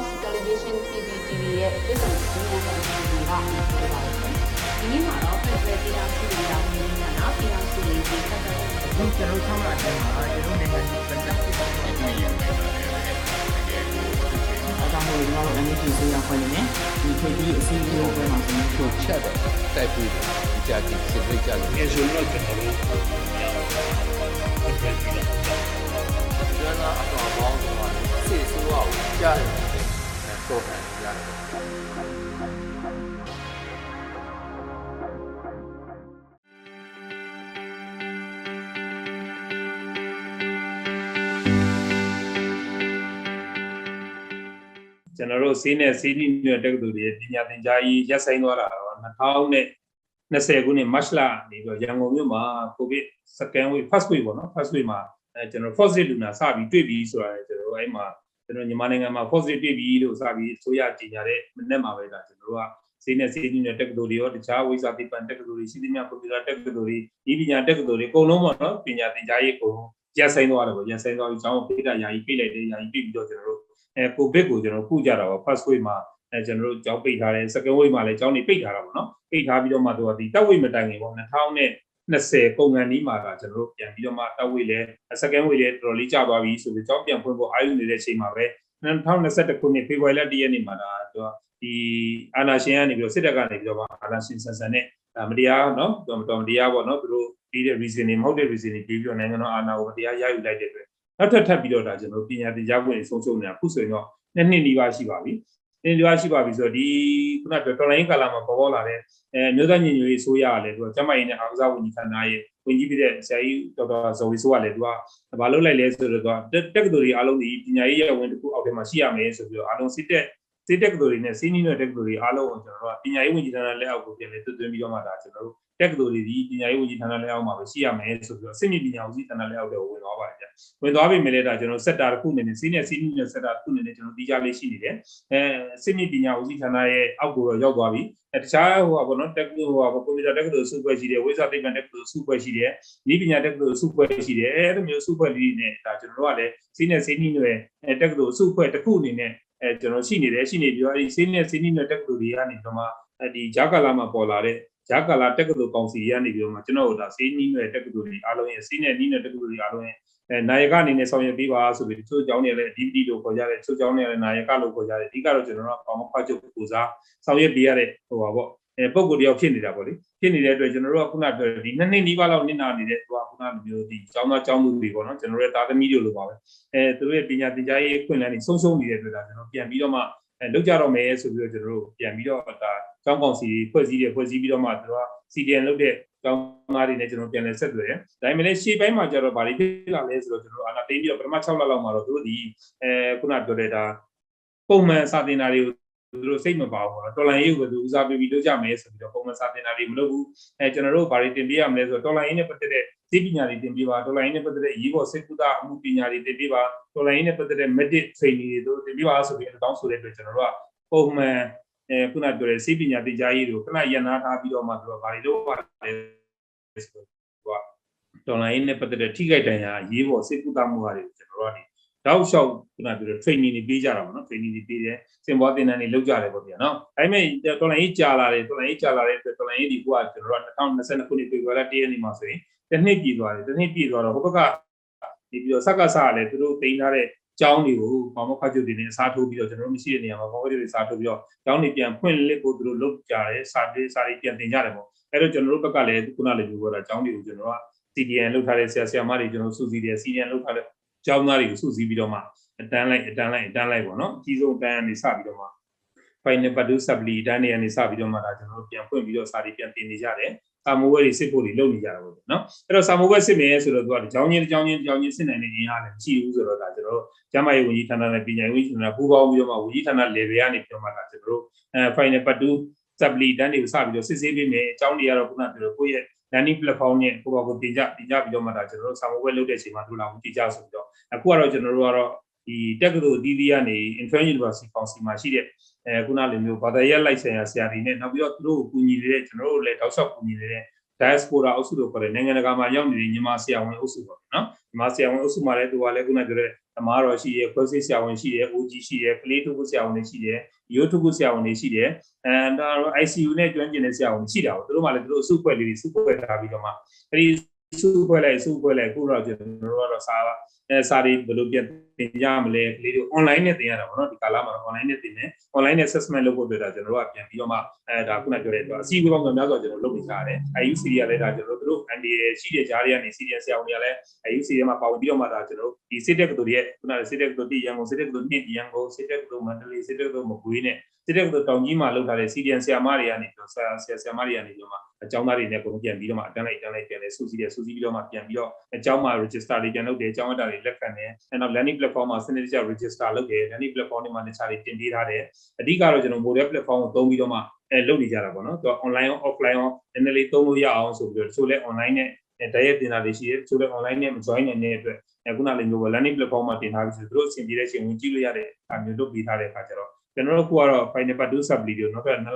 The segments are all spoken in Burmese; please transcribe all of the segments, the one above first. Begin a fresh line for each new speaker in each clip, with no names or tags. Station CCTV ရဲ့ပြည်သူ့စီမံခန့်ခွဲမှုကဒီလိုပါပဲ။ဒီနေ့မှာတော့ Federal Data စုစည်းတာဝန်ကြီးများနောက်ပြည်အောင်စုစည်းပြီးတက်တဲ့
ဒီကျွန်တော်ဆောင်ရတဲ့မှာကျွန်တော်နိုင်ငံရေးစံတက်ပြီးတော့ဒီမှာရေးပါတယ်။အဲဒါမျိုးကျွန်တော် NGO ဆေးရခွင့်နဲ့ဒီခေတ်ကြီးအစီအစဉ်ကိုပြန်ဆောင်ဖို့
ချက်တယ်တိုက်ပြီးတယ်ဒီကြတိစစ်ပြကြလို့
eso no es que no lo Argentina.
ကျွမ်းသာအတော်ပေါင်းတော့စေဆိုးအောင်ကြားတယ်တော့တယ်ကြားတယ်
ကျွန်တော်တို့ဈေးနဲ့ဈေးနှိမ့်တဲ့တက္ကသိုလ်တွေရဲ့ပညာသင်ကြားရေးရပ်ဆိုင်းသွားတာတော့2020ခုနှစ်မတ်လနေပြီးတော့ရန်ကုန်မြို့မှာကိုဗစ် second wave first wave ပေါ့နော် first wave မှာအဲကျွန်တော် positive လူနာစပြီးတွေ့ပြီဆိုတာလေကျွန်တော်တို့အဲ့မှာကျွန်တော်မြန်မာနိုင်ငံမှာ positive တွေ့ပြီလို့စပြီးအစိုးရကြေညာတဲ့မနေ့မှာပဲဒါကျွန်တော်တို့ကဈေးနဲ့ဈေးနှိမ့်တဲ့တက္ကသိုလ်တွေရောတခြားဝိဇာသိပ္ပံတက္ကသိုလ်တွေရှိသမျှကွန်ပျူတာတက္ကသိုလ်တွေဤပညာတက္ကသိုလ်တွေအကုန်လုံးပေါ့နော်ပညာသင်ကြားရေးအကုန်လုံးရပ်ဆိုင်းသွားတယ်ပေါ့ရပ်ဆိုင်းသွားပြီးကျောင်းကိုပိတ်တာယာယီပိတ်လိုက်တယ်ယာယီပိတ်ပြီးတော့ကျွန်တော်တို့ အဲကိုဗစ်ကိုကျွန်တော်တို့ကုကြတာပါ first wave မှာအဲကျွန်တော်တို့ကြောင်းပိတ်ထားတယ် second wave မှာလည်းကြောင်းတွေပိတ်ထားတာပေါ့နော်ပိတ်ထားပြီးတော့မှသူကဒီတက်ဝေးမတိုင်ခင်ပေါ့2020ပုံကန်ဒီမှာကကျွန်တော်တို့ပြန်ပြီးတော့မှတက်ဝေးလဲ second wave လဲတော်တော်လေးကျသွားပြီဆိုပြီးကြောင်းပြန်ဖွင့်ဖို့အာရုံနေတဲ့အချိန်မှာပဲ2021ခုနှစ်ဖေဖော်ဝါရီလ1ရက်နေ့မှာဒါသူကဒီအာနာရှင်ကနေပြီးတော့စစ်တပ်ကနေပြီးတော့မှအာနာရှင်ဆန်ဆန်နဲ့ဒါမတရားနော်သူကမတော်မတရားပေါ့နော်သူတို့ပြီးတဲ့ reason တွေမဟုတ်တဲ့ reason တွေပြီးပြီးတော့နိုင်ငံတော်အာဏာကိုမတရားရယူလိုက်တဲ့အတွက် နောက်ထပ်ထပ်ပြီးတော့ဒါကျွန်တော်တို့ပညာသင်ကြားခွင့်တွေဆုံးရှုံးနေတာအခုဆိုရင်တော့နှစ်နှစ်နီးပါးရှိပါပြီနှစ်နှစ်နီးပါးရှိပါပြီဆိုတော့ဒီခုနကတော်လိုင်းကာလာမှာပေါ်ပေါ်လာတဲ့အဲမျိုးသားညီညွတ်ရေးအစိုးရကလည်းသူကကျန်းမရေးနဲ့အားကစားဝန်ကြီးဌာနရဲ့ဝန်ကြီးပြတဲ့ဆရာကြီးဒေါက်တာဇော်ဝေဆိုကလည်းသူကမလုပ်လိုက်လဲဆိုတော့သူကတက်တက္ကသိုလ်တွေအားလုံးဒီပညာရေးရဝင်တစ်ခုအောက်ထဲမှာရှိရမယ်ဆိုပြီးတော့အားလုံးစစ်တက်စစ်တက္ကသိုလ်တွေနဲ့စီနီယိုတက္ကသိုလ်တွေအားလုံးကိုကျွန်တော်တို့ကပညာရေးဝန်ကြီးဌာနလက်အောက်ကိုပြန်လဲသွတ်သွင်းပြီးတော့မှဒါကျွန်တော်တို့တက္ကသိုလ်တွေဒီပညာရေးဝန်ကြီးဌာနလက်အောက်မှာပဲရှိရမယ်ဆိုပြီးတော့စစ်မြေပညာဦးစီးဌာနလက်အောက်တွေကိုဝင်သွားပါတယ်ဗျ ဝင်သွားပြီမယ်လေဒါကျွန်တော်စက်တာတစ်ခုအနေနဲ့စီးနဲ့စီးနူးနဲ့စက်တာတစ်ခုအနေနဲ့ကျွန်တော်တီးကြလေးရှိနေတယ်အဲစစ်မြေပညာဦးစီးဌာနရဲ့အောက်ကိုတော့ရောက်သွားပြီအဲတခြားဟိုဟာပေါ့နော်တက္ကသိုလ်ဟိုဟာပေါ့ကွန်ပျူတာတက္ကသိုလ်စုဖွဲ့ရှိတယ်ဝိဇ္ဇာသိပ္ပံတက္ကသိုလ်စုဖွဲ့ရှိတယ်နည်းပညာတက္ကသိုလ်စုဖွဲ့ရှိတယ်အဲအဲ့လိုမျိုးစုဖွဲ့လေးတွေနဲ့ဒါကျွန်တော်တို့ကလည်းစီးနဲ့စီးနူးနဲ့အဲတက္ကသိုလ်စုဖွဲ့တစ်ခုအနေနဲ့အဲကျွန်တော်ရှိနေတယ်ရှိနေပြီးတော့အဲဒီစီးနဲ့စီးနူးနဲ့တက္ကသိုလ်တွေကနေပြီးတော့မှအဲဒီဂျာကာလာမှာပေါ်လာတဲ့ဂျာကာလာတက္ကသိုလ်ကောင်စီကနေပြီးတော့မှကျွန်တော်တို့ဒါစီးနူးနဲ့တက္ကသိုလ်တွေအားလုံးရဲ့စီးနဲ့နည်းနဲ့တက္ကသိုလ်တွေအားလုံးရဲ့ အဲနာယကအနေနဲ့ဆောင်ရွက်ပေးပါဆိုပြီးတချို့ကျောင်းတွေလည်း DVD လို့ခေါ်ကြတယ်တချို့ကျောင်းတွေလည်းနာယကလို့ခေါ်ကြတယ်အဓိကတော့ကျွန်တော်တို့ကပေါင်းဖောက်ချုပ်ပူစားဆောင်ရွက်ပေးရတဲ့ဟိုပါပေါ့အဲပုံကိုယ်တယောက်ဖြစ်နေတာပေါ့လေဖြစ်နေတဲ့အတွက်ကျွန်တော်တို့ကခုနပြောတဲ့ဒီနှစ်နှစ်နီးပါးလောက်နစ်နာနေတဲ့ဟိုကခုနလိုမျိုးဒီကျောင်းသားကျောင်းသူတွေပေါ့နော်ကျွန်တော်တို့ရဲ့တာသမီတွေလို့ပါပဲအဲသူတို့ရဲ့ပညာသင်ကြားရေးအခွင့်အလမ်းတွေဆုံးရှုံးနေတဲ့အတွက်ဒါကျွန်တော်ပြန်ပြီးတော့မှအဲလောက်ကြတော့မယ်ဆိုပြီးတော့ကျွန်တော်တို့ပြန်ပြီးတော့ဒါကျောင်းကောင်စီဖွဲ့စည်းတယ်ဖွဲ့စည်းပြီးတော့မှသူတို့က CDN လုပ်တဲ့ ကျောင်းသားတွေနဲ့ကျွန်တော်ပြန်လဲဆက်သွယ်တယ်။ဒါပေမဲ့လည်းရှေ့ပိုင်းမှာကျတော့ဗာလိဖြစ်လာလဲဆိုတော့ကျွန်တော်တို့အာနာသိမ်းပြီးတော့ပထမ6လလောက်မှာတော့သူတို့ဒီအဲခုနပြောတဲ့ဒါပုံမှန်စာသင်တာတွေကိုသူတို့စိတ်မပါဘူးပေါ့နော်။တော်လိုင်းရေးကိုပဲသူဦးစားပေးပြီးလုပ်ကြမယ်ဆိုပြီးတော့ပုံမှန်စာသင်တာတွေမလုပ်ဘူး။အဲကျွန်တော်တို့ဗာလိတင်ပြရမလဲဆိုတော့တော်လိုင်းရေးနဲ့ပတ်သက်တဲ့သိပညာတွေတင်ပြပါတော်လိုင်းရေးနဲ့ပတ်သက်တဲ့ရေးပေါ်စိတ်ကူတာအမှုပညာတွေတင်ပြပါတော်လိုင်းရေးနဲ့ပတ်သက်တဲ့ medic training တွေတို့တင်ပြပါဆိုပြီးအဲတောင်းဆိုတဲ့အတွက်ကျွန်တော်တို့ကပုံမှန်အဲခုနပြောတဲ့စိတ်ပညာသင်ကြားရေးတွေကိုခဏရန်နာထားပြီးတော့မှသူတို့ကဗာလိလုပ်ပါလဲ ဆိုတော့ဒေါ်လာရင်းနဲ့ပတ်သက်တဲ့ထိခိုက်ဒဏ်ရာအရေးပေါ်စိတ်ကူတာမှုဟာတွေကိုကျွန်တော်တို့ကနေတောက်လျှောက်ခုနပြောတဲ့ training တွေပေးကြတာပေါ့နော် training တွေပေးတယ်စင်ပေါ်သင်တန်းတွေလုပ်ကြတယ်ပေါ့ဗျာနော်ဒါပေမဲ့ဒေါ်လာရင်းကြာလာတယ်ဒေါ်လာရင်းကြာလာတဲ့အတွက်ဒေါ်လာရင်းဒီကကျွန်တော်တို့2022ခုနှစ်ဖေဖော်ဝါရီလ1ရက်နေ့မှာဆိုရင်တစ်နှစ်ပြည့်သွားတယ်တစ်နှစ်ပြည့်သွားတော့ဟိုဘက်ကဒီပြီးတော့စက္ကဆကလည်းသူတို့တင်ထားတဲ့ကျောင်းတွေကိုဘာမခတ်ချုပ်တွေနဲ့အစားထိုးပြီးတော့ကျွန်တော်တို့မရှိတဲ့နေရာမှာဘာမခတ်ချုပ်တွေစားထိုးပြီးတော့ကျောင်းတွေပြန်ဖွင့်လက်ကိုသူတို့လုပ်ကြတယ်စာပေးစာတွေပြန်တင်ကြတယ်ပေါ့ အဲ့တော့ကျွန်တော်တို့ဘက်ကလည်းခုနလည်းပြောထားတာအကြောင်းတွေကိုကျွန်တော်က CDN လောက်ထားတဲ့ဆရာဆရာမတွေကျွန်တော်စုစည်းတယ် CDN လောက်ထားတဲ့ကျောင်းသားတွေကိုစုစည်းပြီးတော့မှအတန်းလိုက်အတန်းလိုက်အတန်းလိုက်ပေါ့နော်အကြီးဆုံးအတန်းကနေစပြီးတော့မှ final part 2 supply အတန်းတွေကနေစပြီးတော့မှဒါကျွန်တော်တို့ပြန်ဖွင့်ပြီးတော့စာတွေပြန်တင်နေကြတယ်စာမိုးဝဲတွေစစ်ဖို့တွေလုပ်နေကြတာပေါ့ဗျာနော်အဲ့တော့စာမိုးဝဲစစ်မယ်ဆိုတော့သူကဒီကျောင်းချင်းတစ်ကျောင်းချင်းတစ်ကျောင်းချင်းစစ်နိုင်တဲ့ရင်းအားလည်းမရှိဘူးဆိုတော့ဒါကျွန်တော်တို့ကျန်းမရေးဝန်ကြီးဌာနနဲ့ပညာရေးဝန်ကြီးဌာနပူးပေါင်းပြီးတော့မှဝန်ကြီးဌာန level ကနေပြီးတော့မှဒါကျွန်တော်တို့အဲ final part 2 supply တန်းတွေကိုစပြီးတော့စစ်ဆေးပေးမယ်အကြောင်းတွေကတော့ခုနပြောလို့ကိုယ့်ရဲ့ learning platform နဲ့ကိုယ့်ဘာကိုတင်ကြတင်ကြပြီးတော့မှဒါကျွန်တော်တို့ server web လုပ်တဲ့အချိန်မှာတို့လာမှုတင်ကြဆိုပြီးတော့အခုကတော့ကျွန်တော်တို့ကတော့ဒီတက္ကသိုလ်ဒီဒီကနေ Infant University Council မှာရှိတဲ့အဲခုနလိုမျိုးဘာသာရပ်လိုက်ဆိုင်ရာဆရာတွေနဲ့နောက်ပြီးတော့သူတို့ကိုကူညီနေတဲ့ကျွန်တော်တို့လည်းတောက်လျှောက်ကူညီနေတဲ့ diaspora အုပ်စုလို့ခေါ်တယ်နိုင်ငံတကာမှာရောက်နေတဲ့ညီမဆရာဝန်အုပ်စုပေါ့နော်ညီမဆရာဝန်အုပ်စုမှာလည်းသူကလည်းခုနကပြောတဲ့ဓမ္မတော်ရှိရဲ့ခွဲစိတ်ဆရာဝန်ရှိရဲ့ OG ရှိရဲ့ကလေးထုပ်ဖို့ဆရာဝန်တွေရှိရဲ့ရိုးထုပ်ဖို့ဆရာဝန်တွေရှိရဲ့အဲဒါတော့ ICU နဲ့ကျွမ်းကျင်တဲ့ဆရာဝန်တွေရှိတာပေါ့သူတို့ကလည်းသူတို့အစုအဖွဲ့လေးတွေစုဖွဲ့ထားပြီးတော့မှအဲဒီစုဖွဲ့လိုက်စုဖွဲ့လိုက်ခုတော့ကျွန်တော်တို့ကတော့စာအဲစာတွေဘယ်လိုပြန်သင်ကြမလဲကလေးတွေ online နဲ့သင်ရတာပေါ့နော်ဒီကာလမှာတော့ online နဲ့သင်တယ် online နဲ့ assessment လုပ်ဖို့တွေ့တာကျွန်တော်တို့ကပြန်ပြီးတော့မှအဲဒါခုနပြောတဲ့အစီအစဉ်ပေါင်းဆိုများစွာကျွန်တော်လုပ်နေကြရတယ်။ IUC တွေကလည်းဒါကျွန်တော်တို့သူတို့ NDA ရှိတဲ့ကြားတွေကနေ CDN ဆရာဝန်တွေကလည်း IUC တွေမှာပါဝင်ပြီးတော့မှဒါကျွန်တော်တို့ဒီစစ်တက်ကတူတွေရဲ့ခုနကစစ်တက်ကတူတီရန်ကုန်စစ်တက်ကတူနှစ်ရန်ကုန်စစ်တက်ကတူမန္တလေးစစ်တက်ကတူမကွေးနဲ့စစ်တက်ကတူတောင်ကြီးမှာလုပ်ထားတဲ့ CDN ဆရာမတွေကနေဆရာဆရာဆရာမတွေကနေပြီးတော့မှအကြောင်းသားတွေနဲ့ပုံပြန်ပြီးတော့မှအတန်းလိုက်အတန်းလိုက်ပြန်လဲစုစည်းတယ်စုစည်းပြီးတော့မှပြန်ပြီးတော့အကြောင်းမှာ register တွေပြန်လုပ်တယ်အကြောင်းအတာတွေလက်ခံတယ်အဲနောက် learning platform မှာစနစ်တကျ register လုပ်တယ် learning platform တွေမှာတခြားတွေတင်ပေးထားတယ် အဓိကတော့ကျွန်တော် model platform ကိုသုံးပြီးတော့မှအဲလုပ်နေကြတာပေါ့နော်သူက online ရော offline ရောနည်းနည်းလေးသုံးလို့ရအောင်ဆိုပြီးတော့တချို့လဲ online နဲ့အဲတရက်တင်တာတွေရှိတယ်တချို့လဲ online နဲ့မ join နိုင်တဲ့အတွက်အခုနလေးမျိုးပေါ့ learning platform မှာတင်ထားပြီးဆိုသူတို့အဆင်ပြေတဲ့အချိန်ဝင်ကြည့်လို့ရတဲ့အားမျိုးလုပ်ပေးထားတဲ့အခါကျတော့ကျွန်တော်တို့ကတော့ final part 2 sub video နောက်ထပ်2လ3လ4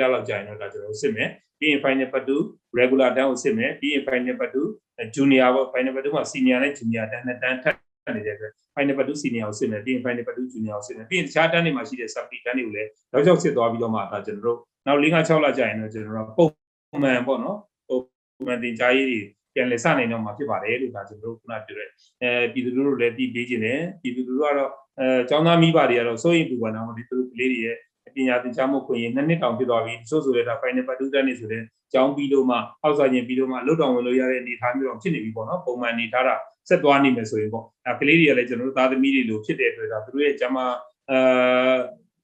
လလောက်ကြာရင်တော့ဒါကျွန်တော်စစ်မယ်ပြီးရင် final part 2 regular down ကိုစစ်မယ်ပြီးရင် final part 2 junior ပေါ့ final part 2မှာ senior နဲ့ junior တန်းနဲ့တန်းထပ်နေတဲ့အတွက် final part 2 senior ကိုစစ်မယ်ပြီးရင် final part 2 junior ကိုစစ်မယ်ပြီးရင်တခြားတန်းတွေမှာရှိတဲ့ sub တန်းတွေကိုလည်းရောက်ရောက်စစ်သွားပြီးတော့မှဒါကျွန်တော်တို့နောက်၄၅6လကြာရင်တော့ကျွန်တော်တို့ပုံမှန်ပေါ့နော်ပုံမှန်တင်ကြားရေးတွေပြန်လည်စနိုင်တော့မှာဖြစ်ပါတယ်လို့ဒါကျွန်တော်တို့ခုနပြောတဲ့အဲပြည်သူလူထုလည်းပြည်ပေးခြင်းနဲ့ပြည်သူလူထုကတော့အဲကျောင်းသားမိဘတွေကတော့စိုးရိမ်ပူပန်တာမဟုတ်ဒီသူတို့ကလေးတွေရဲ့ပညာသင်ကြားမှုခွင့်ရနှစ်နှစ်တောင်ဖြစ်သွားပြီတချို့ဆိုလည်းဒါ final part 2တန်းနေဆိုတဲ့ကျောင်းပြီးတော့မှအောက်ဆိုင်ရင်ပြီးတော့မှလုတ်တော်ဝင်လို့ရတဲ့အနေအထားမျိုးတော့ဖြစ်နေပြီပေါ့နော်ပုံမှန်အနေထားတာဆက်သွားနေမယ်ဆိုရင်ပေါ့အဲကလေးတွေကလည်းကျွန်တော်တို့သားသမီးတွေလိုဖြစ်တဲ့အတွက်ဒါသူတို့ရဲ့ကျမ်းမာအဲ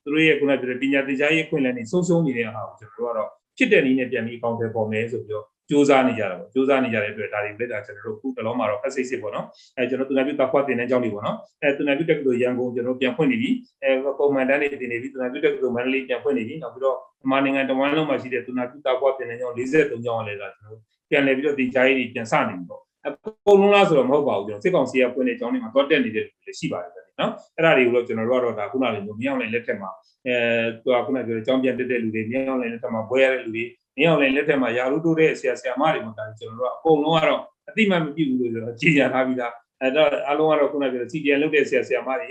သူတို့ရဲ့ခုနကပြောတဲ့ပညာသင်ကြားရေးခွင့်လန်းနေဆုံးရှုံးနေတဲ့အားကိုကျွန်တော်တို့ကတော့ဖြစ်တဲ့နည်းနဲ့ပြန်ပြီးအကောင့်တွေပေါ်မယ်ဆိုပြီးတော့စူးစမ်းနေကြတာပေါ့စူးစမ်းနေကြတဲ့အတွက်ဒါတွေလက်တာကျွန်တော်တို့ခုတစ်လုံးမှာတော့ passive စစ်ပေါ့နော်အဲကျွန်တော်တူနာပြုတာခွတ်တင်တဲ့အကြောင်းတွေပေါ့နော်အဲတူနာပြုတက်ကတူရန်ကုန်ကျွန်တော်ပြန်ဖွင့်နေပြီအဲပုံမှန်တန်းတွေတင်နေပြီတူနာပြုတက်ကတူမန္တလေးပြန်ဖွင့်နေပြီနောက်ပြီးတော့မြန်မာနိုင်ငံတဝမ်းလုံးမှာရှိတဲ့တူနာပြုတာခွတ်တင်တဲ့အကြောင်း43ကြောင်းလည်းဒါကျွန်တော်ပြန်လည်ပြီးတော့ဒီကြားရေးတွေပြန်စနေပြီပေါ့အပုံလုံးလားဆိုတော့မဟုတ်ပါဘူးကျွန်တော်စစ်ကောင်စီကဖွင့်တဲ့အကြောင်းတွေမှာတော့တက်နေတဲ့လူတွေရှိပါတယ်ဗျာနော်အဲ့ဒါတွေကိုတော့ကျွန်တော်တို့ကတော့ဒါခုနကလိုမြောင်းလည်းလက်ထက်မှာအဲသူကခုနကပြောတဲ့အကြောင်းပြန်တက်တဲ့လူတွေမြောင်းလည်းလက်ထက်မှာဘွဲရတဲ့လူတွေမင်းအောင်လည်းလက်ထက်မှာယာရုတိုးတဲ့ဆရာဆရာမတွေမှတာကျွန်တော်တို့ကအကုန်လုံးကတော့အတိမတ်မပြည့်ဘူးလို့ကျွန်တော်ကြေညာထားပြီးသားအဲတော့အားလုံးကတော့ခုနကပြော CDN လုပ်တဲ့ဆရာဆရာမတွေ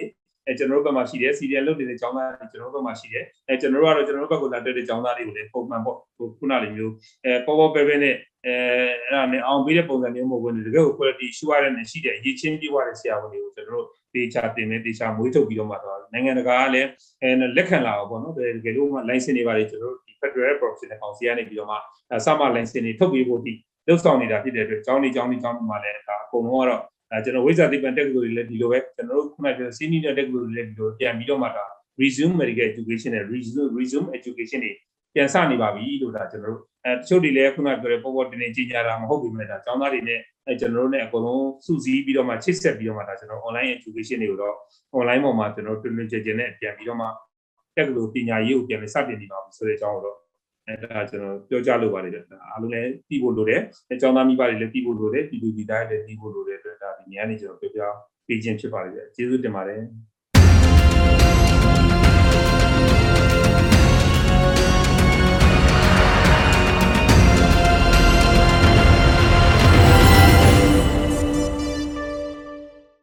အဲကျွန်တော်တို့ဘက်မှာရှိတယ် CDN လုပ်နေတဲ့ကျောင်းသားတွေကျွန်တော်တို့ဘက်မှာရှိတယ်အဲကျွန်တော်တို့ကတော့ကျွန်တော်တို့ဘက်ကလာတက်တဲ့ကျောင်းသားတွေကိုလည်းပုံမှန်ပေါ့ဟိုခုနလိုမျိုးအဲပေါ်ပေါ်ပဲပဲနဲ့အဲအဲ့ဒါနဲ့အောင်ပေးတဲ့ပုံစံမျိုးမဟုတ်ဘူးတကယ်ကို quality ရှိရတဲ့နဲ့ရှိတဲ့အရေးချင်းပြည့်ဝတဲ့ဆရာဝန်တွေကိုကျွန်တော်တို့တေချာတင်နေတေချာမွေးထုတ်ပြီးတော့မှတော့နိုင်ငံတကာကလည်းအဲလက်ခံလာအောင်ပေါ့နော်တကယ်လို့မှ license တွေပါတယ်ကျွန်တော်တို့ဒီ Federal Professional Council ကနေပြီးတော့မှအဲစမ license တွေထုတ်ပေးဖို့ဒီလှုပ်ဆောင်နေတာဖြစ်တဲ့အတွက်ကျောင်းတွေကျောင်းတွေကျောင်းတွေမှာလည်းဒါအကုန်လုံးကတော့အဲကျွန်တော်ဝိဇ္ဇာသိပ္ပံတက္ကသိုလ်တွေလည်းဒီလိုပဲကျွန်တော်တို့ခုနကပြောစီနီယာတက္ကသိုလ်တွေလည်းဒီလိုပြန်ပြီးတော့မှဒါ resume medical education နဲ့ resume resume education တွေပြန်စနေပါပြီလို့ဒါကျွန်တော်တို့အဲတချို့တွေလည်းခုနကပြောတဲ့ပေါ်ပေါ်တင်တင်ကြီးကြတာမဟုတ်ဘူးမြဲဒါကျောင်းသားတွေနဲ့အဲကျွန်တော်တို့နဲ့အကုန်လုံးစုစည်းပြီးတော့မှချိတ်ဆက်ပြီးတော့မှဒါကျွန်တော် online education တွေကိုတော့ online ပေါ်မှာကျွန်တော်တို့တွင်တွင်ကျယ်ကျယ်နဲ့ပြန်ပြီးတော့မှတက်ကလို့ပညာရေးကိုပြန်ပြီးစတင်နေပါပြီဆိုတဲ့အကြောင်းကိုတော့အဲဒါကျွန်တော်ပြောကြားလိုပါတယ်ဒါအားလုံးလည်းသိဖို့လိုတယ်အဲကျောင်းသားမိဘတွေလည်းသိဖို့လိုတယ်ပြည်သူပြည်သားတွေလည်းသိဖို့လိုတယ်အတွက်ဒါဒီနေရာနေကျွန်တော်ပြောပြပေးခြင်းဖြစ်ပါတယ်ကျေးဇူးတင်ပါတယ်